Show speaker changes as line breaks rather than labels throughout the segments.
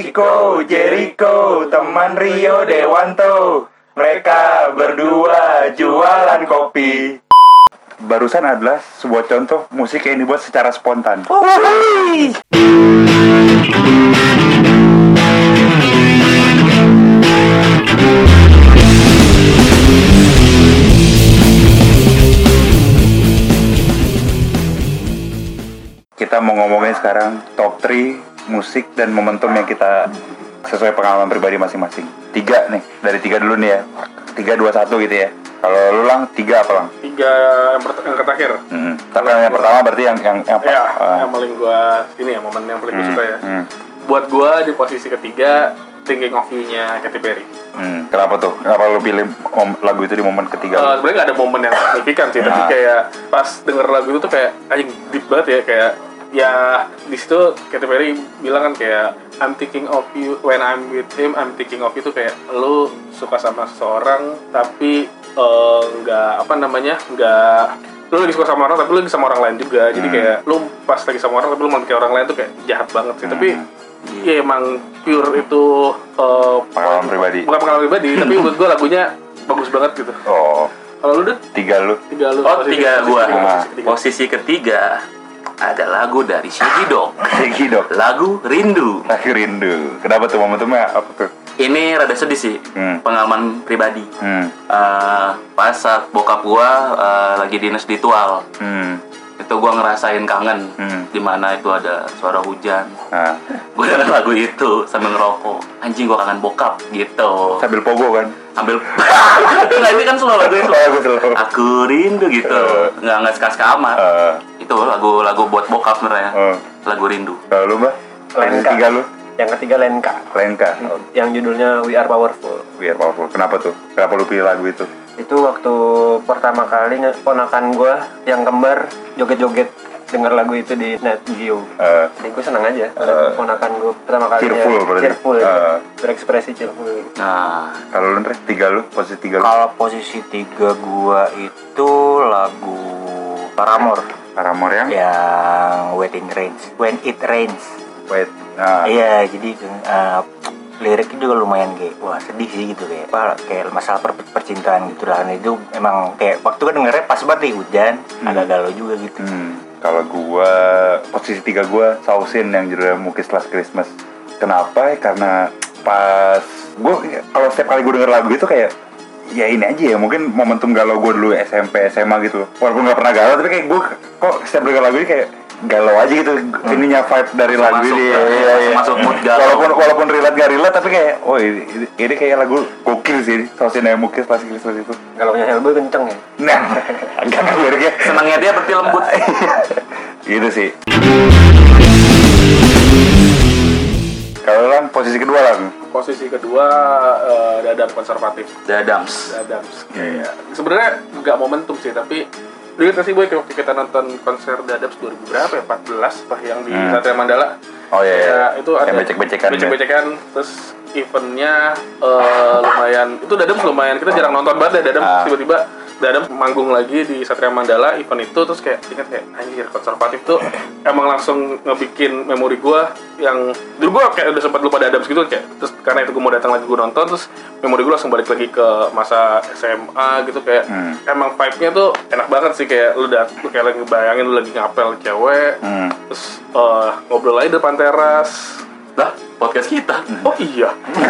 Chico, Jericho, teman Rio Dewanto. Mereka berdua jualan kopi. Barusan adalah sebuah contoh musik yang dibuat secara spontan. Kita mau ngomongin sekarang top 3 musik dan momentum yang kita sesuai pengalaman pribadi masing-masing. Tiga nih, dari tiga dulu nih ya. Tiga, dua, satu gitu ya. Kalau lu lang, tiga apa lang?
tiga yang, pert- yang terakhir
Hmm. Tapi yang pertama berarti yang yang, yang
ya
ah.
yang paling gua ini ya momen yang paling gua
Hmm,
suka ya
hmm,
buat gua di posisi ketiga thinking of you nya Katy Perry
hmm. Kenapa tuh? Kenapa lu pilih mom- lagu itu di momen ketiga?
Eh,
lu?
sebenarnya nggak ada momen yang signifikan sih tapi
Nah.
kayak pas denger lagu itu tuh kayak anjing deep banget ya kayak ya di situ Katy Perry bilang kan kayak I'm thinking of you when I'm with him I'm thinking of you tuh kayak lu suka sama seseorang tapi eh, nggak apa namanya nggak lu lagi suka sama orang tapi lu lagi sama orang lain juga jadi
Hmm.
kayak lu pas lagi sama orang tapi lu malah kayak orang lain tuh kayak jahat banget sih tapi
Hmm.
ya emang pure itu eh,
Pengalaman pribadi.
bukan pengalaman pribadi tapi menurut gua lagunya bagus banget gitu
Oh,
kalau lu Dut?
tiga lu.
tiga lu
Oh,
posisi-
tiga
posisi
gua.
tiga,
Ah.
posisi tiga.
Posisi ketiga ada lagu dari Shaggy Dog,
Lagi dok.
lagu Rindu.
Lagi rindu. Kenapa tuh momentumnya apa tuh?
Ini rada sedih sih,
Hmm.
pengalaman pribadi.
Hmm.
Eh, pas saat bokap gua eh, lagi dinas di Tual,
Hmm.
itu gua ngerasain kangen
Hmm.
dimana itu ada suara hujan.
Nah,
Gua denger lagu itu sambil ngerokok. Anjing gua kangen bokap gitu.
sambil pogo kan?
Ambil Nggak, ini kan slow lagunya slow.
Oh, Lagu slow.
Aku rindu gitu. Nggak nggak sekas amat.
Eh,
Itu lagu lagu buat bokap sebenarnya.
eh.
Lagu rindu.
Kalau lu mbak? Yang
Lenka.
tiga lu?
Yang ketiga Lenka,
Lengka. Oh,
yang judulnya We Are Powerful.
biar powerful. Kenapa tuh? Kenapa lu pilih lagu itu?
Itu waktu pertama kali nge- ponakan gue yang kembar joget-joget denger lagu itu di Net Geo.
Eh,
Jadi gue seneng aja,
Eh.
ponakan gue pertama kali ya.
Cheerful berarti.
cheerful,
Eh.
berekspresi cheerful.
Nah,
kalau lu Ndre, tiga lu, posisi tiga lu?
Kalau posisi tiga gua itu lagu Paramore
Paramore yang?
Iya. yang Waiting Rains. When It Rains.
Wait. Nah,
Iya, jadi eh, liriknya juga lumayan kayak wah sedih sih gitu kayak apa kayak masalah per- percintaan gitu lah Dan itu emang kayak waktu kan dengernya pas banget nih hujan agak galau juga gitu
Hmm, kalau gua posisi tiga gua sausin yang judulnya Mukis Last Christmas. Kenapa? Ya, Karena pas gua kalau setiap kali gua denger lagu itu kayak ya ini aja ya mungkin momentum galau gua dulu SMP SMA gitu walaupun nggak pernah galau tapi kayak gua kok setiap denger lagu ini kayak galau aja gitu ininya vibe dari lagu
Hmm. Masuk
ini Iya,
ke- masuk mood galau.
walaupun walaupun relate gak relate tapi kayak oh ini, ini- ini kayak lagu gokil sih sausin yang Mukis Last Christmas itu
Kalau nya Hellboy kenceng ya.
nah agak ya. liriknya
senangnya dia berarti lembut.
gitu sih kalau lang posisi kedua lang
posisi kedua eh, Dadam konservatif
Dadams.
Dadam
Iya,
kayak sebenarnya nggak momentum sih tapi lu ingat nggak sih boy kayak waktu kita nonton konser Dadams 2000 berapa ya 14 pak yang di
Hmm.
Satria Mandala
oh iya, iya.
Ya, itu ada
Yang becek-becekan ya.
becek-becekan kan. terus eventnya eh, lumayan itu dadam lumayan kita jarang nonton banget deh dadam
Ah.
tiba-tiba dadam manggung lagi di Satria Mandala event itu terus kayak ingat kayak anjir konservatif tuh emang langsung ngebikin memori gua yang dulu gua kayak udah sempat lupa dadam gitu kayak terus karena itu gua mau datang lagi gua nonton terus memori gua langsung balik lagi ke masa SMA gitu kayak
Hmm.
emang vibe-nya tuh enak banget sih kayak lu udah lu kayak lagi bayangin lu lagi ngapel cewek
Hmm.
terus eh, ngobrol aja depan teras
Lah, podcast kita.
oh iya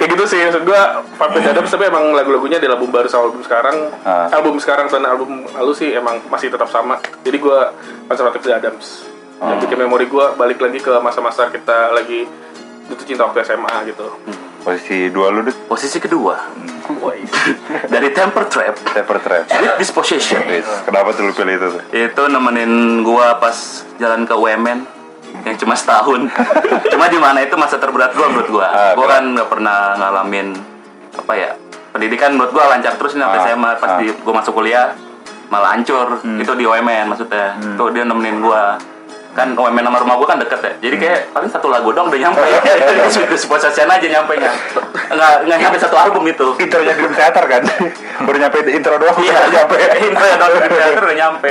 kayak gitu sih maksud gua Papa Adams tapi emang lagu-lagunya di album baru sama album sekarang
Ah.
album sekarang dan album lalu sih emang masih tetap sama jadi gua konservatif The Adams
Ah.
yang bikin memori gua balik lagi ke masa-masa kita lagi itu cinta waktu SMA gitu
posisi dua lu deh
Posisi kedua. Dari Temper Trap,
Taper Trap
Sweet Disposition.
Wis, kenapa tuh lu pilih itu tuh?
Itu nemenin gua pas jalan ke UMN yang cuma setahun. cuma di mana itu masa terberat gua menurut gua.
Ah,
gua
berat.
kan nggak pernah ngalamin apa ya pendidikan menurut gua lancar terus nih sampai
Ah,
SMA pas
ah. Hmm.
di gua masuk kuliah malah hancur. Itu di UMN maksudnya. Itu dia nemenin gua kan UMN sama rumah gua kan deket ya jadi kayak paling satu lagu doang udah nyampe jadi sudah sepuasasian aja nyampe nggak nggak nggak nyampe satu album itu
Intronya Dream Theater kan? Baru nyampe intro doang
Iya,
udah nyampe
Intro ya, tahun ke teater udah nyampe.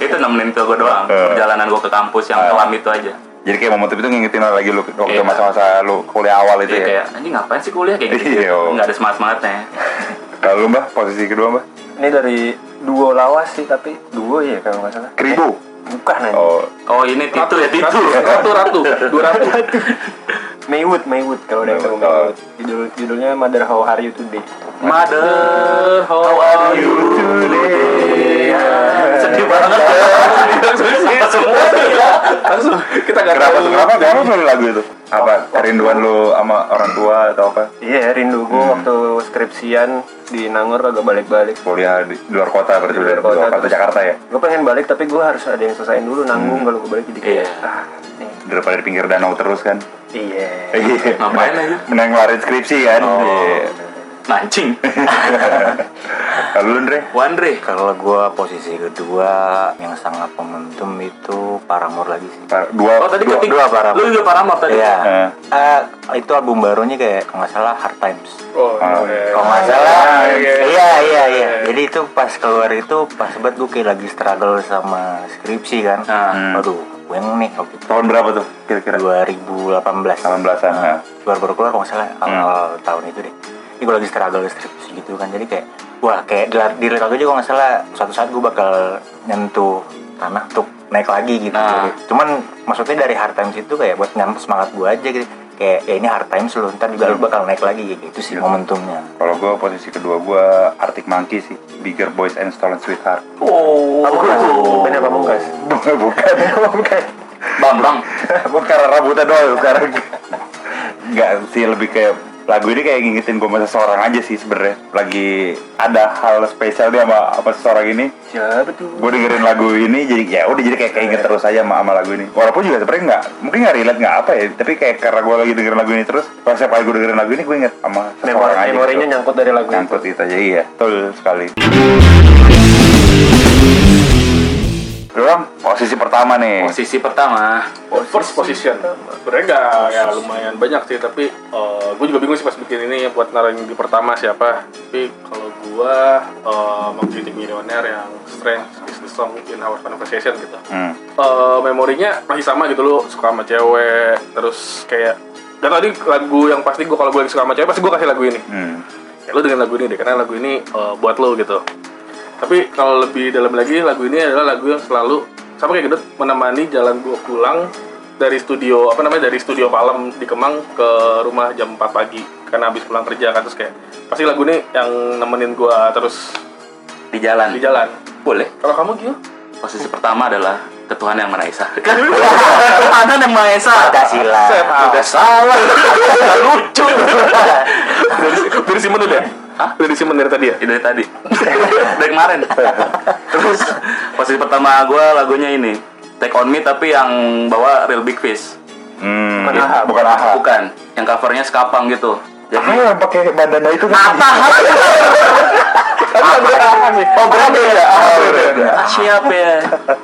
Itu nemenin tuh gue doang. Perjalanan gue ke kampus yang kelam itu aja.
Jadi kayak momentum itu ngingetin lagi lu waktu
Iya.
masa-masa lu kuliah awal itu
Jadi
ya.
kayak anjing ngapain sih kuliah kayak gitu
Iya.
nggak ada semangat semangatnya
Kalau lu mbah posisi kedua mbah
Ini dari duo lawas sih tapi duo ya kalau nggak salah.
keribu.
Bukan aja.
Oh
oh ini titu ya titu
ratu, ratu, ratu, dua ratu.
Maywood, Maywood kalau udah tahu
Maywood, oh.
Maywood. Judul judulnya Mother How Are You Today.
mother how are you today sedih banget
Iya.
Sumpah semua ya.
Langsung kita nggak
kenapa
tahu.
tuh kenapa kenapa pilih lagu itu? Apa kerinduan lu sama orang tua atau apa?
Iya, rindu gue
Hmm.
waktu skripsian di Nangor agak balik-balik.
Kuliah di di luar kota berarti
Di
udah
luar
di
kota,
luar kota
terus-
Iya, Jakarta ya Hmm.
Gue pengen balik tapi gue harus ada yang selesain dulu nanggung kalau gue balik jadi kayak
Iya.
ah, nih.
daripada di pinggir danau terus kan.
Iya.
ngapain aja
Menang ngelarin skripsi kan.
Oh.
Iya.
nancing
Kalau lu Andre?
Wandre
Kalau gua posisi kedua yang sangat momentum itu Paramore lagi sih.
Par- Dua,
oh tadi
dua,
ketik
dua Paramore.
lu juga paramor tadi
Iya.
Eh.
Eh, itu album barunya kayak kalau nggak salah Hard Times.
Oh,
Ah,
iya.
Kalau nggak
Ah,
salah,
iya.
iya iya iya. Jadi itu pas keluar itu pas banget gue kayak lagi struggle sama skripsi kan.
Ah.
Hmm.
Aduh, gue nih waktu itu
tahun berapa tuh kira-kira?
2018.
18-an. ah.
Baru baru keluar kalau nggak salah awal tahun itu deh. Ini gue lagi struggle skripsi gitu kan. Jadi kayak wah kayak di diri aku juga nggak salah. Suatu saat gue bakal nyentuh tanah untuk naik lagi gitu.
Nah.
Cuman maksudnya dari hard times itu kayak buat nyampe semangat gue aja gitu. Kayak ya ini hard times lu ntar juga lu bakal naik lagi gitu Itu sih momentumnya.
Kalau gue posisi kedua gue Arctic Monkey sih Bigger Boys and Stolen Sweetheart
oh
Bandnya Pamungkas.
Bukan Bukan
bang bang
Bukan karena rambutnya doang sekarang Nggak sih lebih kayak Lagu ini kayak ngingetin gue sama seseorang aja sih sebenarnya Lagi ada hal spesial nih sama, sama seseorang ini
Siapa tuh?
Gue dengerin lagu ini jadi ya udah jadi kayak keinget terus aja sama, sama lagu ini Walaupun juga sebenarnya nggak Mungkin nggak relate nggak apa ya Tapi kayak karena gue lagi dengerin lagu ini terus Pas setiap kali gue dengerin lagu ini gue inget sama seseorang
Memori,
aja
memorinya
gitu.
nyangkut dari lagu itu.
Nyangkut itu aja iya Betul sekali Doang posisi pertama nih
posisi pertama
First position. Sebenarnya nggak ya lumayan banyak sih, tapi gue juga bingung sih pas bikin ini buat naruh di pertama siapa. Tapi kalau eh, gue mengkritik milioner yang Strange is the song in our conversation gitu.
Hmm.
Eh, memorinya masih sama gitu lo suka sama cewek terus kayak dan tadi lagu yang pasti gue kalau gue lagi suka sama cewek pasti gue kasih lagu ini
Hmm.
ya, lo dengan lagu ini deh karena lagu ini eh, buat lo gitu tapi kalau lebih dalam lagi lagu ini adalah lagu yang selalu sama kayak gedut menemani jalan gue pulang dari studio apa namanya dari studio malam di Kemang ke rumah jam 4 pagi karena habis pulang kerja kan terus kayak pasti lagu ini yang nemenin gue terus
di
di
jalan
jalan
boleh
kalau kamu gitu
posisi pertama adalah ketuhanan yang maha esa Kan ketuhanan yang maha esa
Pancasila.
ah,
udah salah Nggak lucu
dari Simon udah
Hah?
dari Simon dari tadi ya
Ya, dari tadi dari kemarin terus posisi pertama gue lagunya ini Take On Me tapi yang bawa Real Big Fish
Hmm.
Bukan AHA.
Bukan AHA.
bukan yang covernya Skapang gitu
Ah,
jadi
yang pakai bandana itu
Ah, iya.
kan.
oh berapa ya
Ah, beda, beda.
siap ya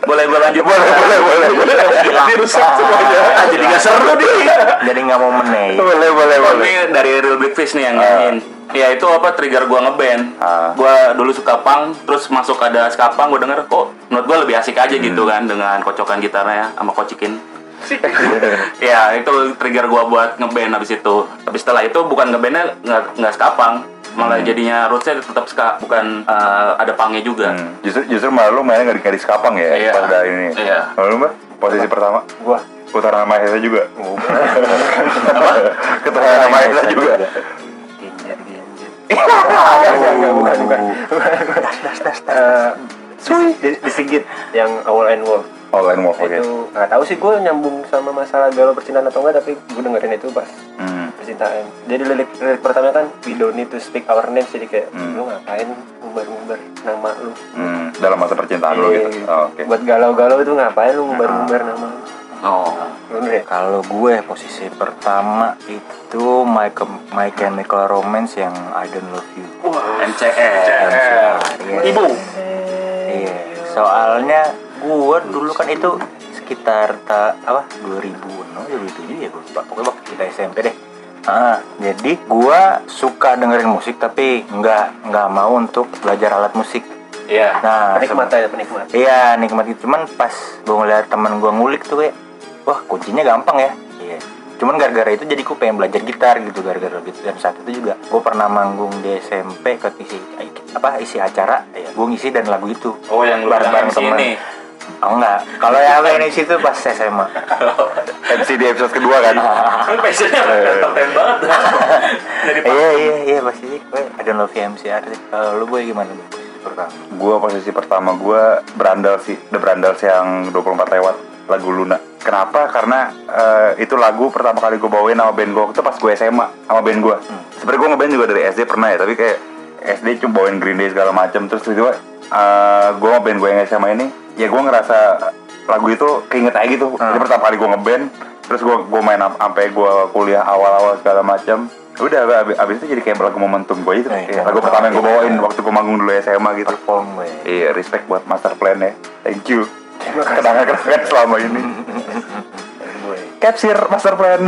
boleh gue lanjut
Boleh, boleh, boleh, boleh.
dirusak semuanya
Ah, jadi gak seru nih
Jadi nggak mau menaik.
Boleh, boleh, boleh.
Ini dari Real Big Fish nih yang nyanyiin. Ya itu apa trigger gua ngeband.
Ah.
Gua dulu suka punk, terus masuk ada ska punk, gua denger kok menurut gua lebih asik
Hmm.
aja gitu kan dengan kocokan gitarnya sama kocikin. ya itu trigger gua buat ngeband habis itu. Habis setelah itu bukan ngebandnya nggak nggak ska punk, malah
Hmm.
jadinya rootsnya tetap ska, bukan eh, ada punknya juga.
Hmm. Justru justru malah lu mainnya nggak dikasih kapang ya
Iya.
pada ini.
Iya.
Lalu mbak posisi pertama
Gua Oh,
utara nama Hesa juga. Ketara
Iya,
nama Hesa juga.
Genjer, genjer.
Uh,
bukan, bukan. Eh, di, di Sigit yang Owl and Wolf
All in Wolf oke.
itu nggak tahu sih gue nyambung sama masalah galau percintaan atau enggak tapi gue dengerin itu pas
Hmm.
percintaan jadi lirik lirik pertama kan we don't need to speak our names jadi kayak
Hmm.
lu ngapain ngumbar ngumbar nama lu
Hmm. Dalam masa percintaan lu gitu.
Iya.
Oh, Oke.
buat galau-galau itu ngapain lu ngumbar ngumbar nama lu
Oh.
Bener ya?
Kalau gue posisi pertama itu My, Chem- My Chemical Romance yang I Don't Love You.
MCL.
Iya.
ibu
Eh,
Iya. Soalnya gue dulu kan itu sekitar ta, apa 2006 2007 ya gue lupa. Pokoknya waktu kita SMP deh. Ah, jadi gue suka dengerin musik tapi nggak nggak mau untuk belajar alat musik.
Iya.
Nah,
penikmat ya penikmat
Iya nikmat gitu cuman pas gue ngeliat teman gue ngulik tuh kayak wah kuncinya gampang ya iya cuman gara-gara itu jadi gue pengen belajar gitar gitu gara-gara gitu dan saat itu juga gue pernah manggung di SMP ke isi apa isi acara gue ngisi dan lagu itu
Oh, yang lu
bareng-bareng
bilang
temen
MC ini.
oh enggak kalau yang apa yang isi itu pas SMA
MC di episode kedua kan
Iya.
Kan passionnya top ten banget. Jadi pas
iya iya iya pasti gue ada love MC artis kalau lu boy gimana boy pertama
Gue posisi pertama gue berandal sih The Berandals yang 24 lewat lagu Luna Kenapa? Karena eh, itu lagu pertama kali gue bawain sama band gue Itu pas gue SMA sama band gue Sebenernya gue ngeband juga dari SD pernah ya Tapi kayak SD cuma bawain Green Day segala macam Terus tiba-tiba eh, gue sama band gue yang SMA ini Ya gue ngerasa lagu itu keinget aja gitu Jadi pertama kali gue ngeband Terus gue gue main am- sampai gue kuliah awal-awal segala macam Udah abis, abis itu jadi kayak lagu momentum gue itu
Eh,
Kayak Lagu pertama yang gue bawain waktu gue manggung dulu SMA gitu
perform gue
Iya, respect buat master plan ya. Thank you. Kenangan-kenangan selama ini.
Iya.
Capsir master plan.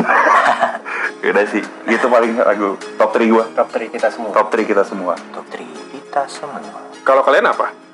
Udah sih, itu paling lagu top 3 gua.
top 3 kita semua
Top 3 kita semua.
top 3 kita semua
Kalau kalian apa?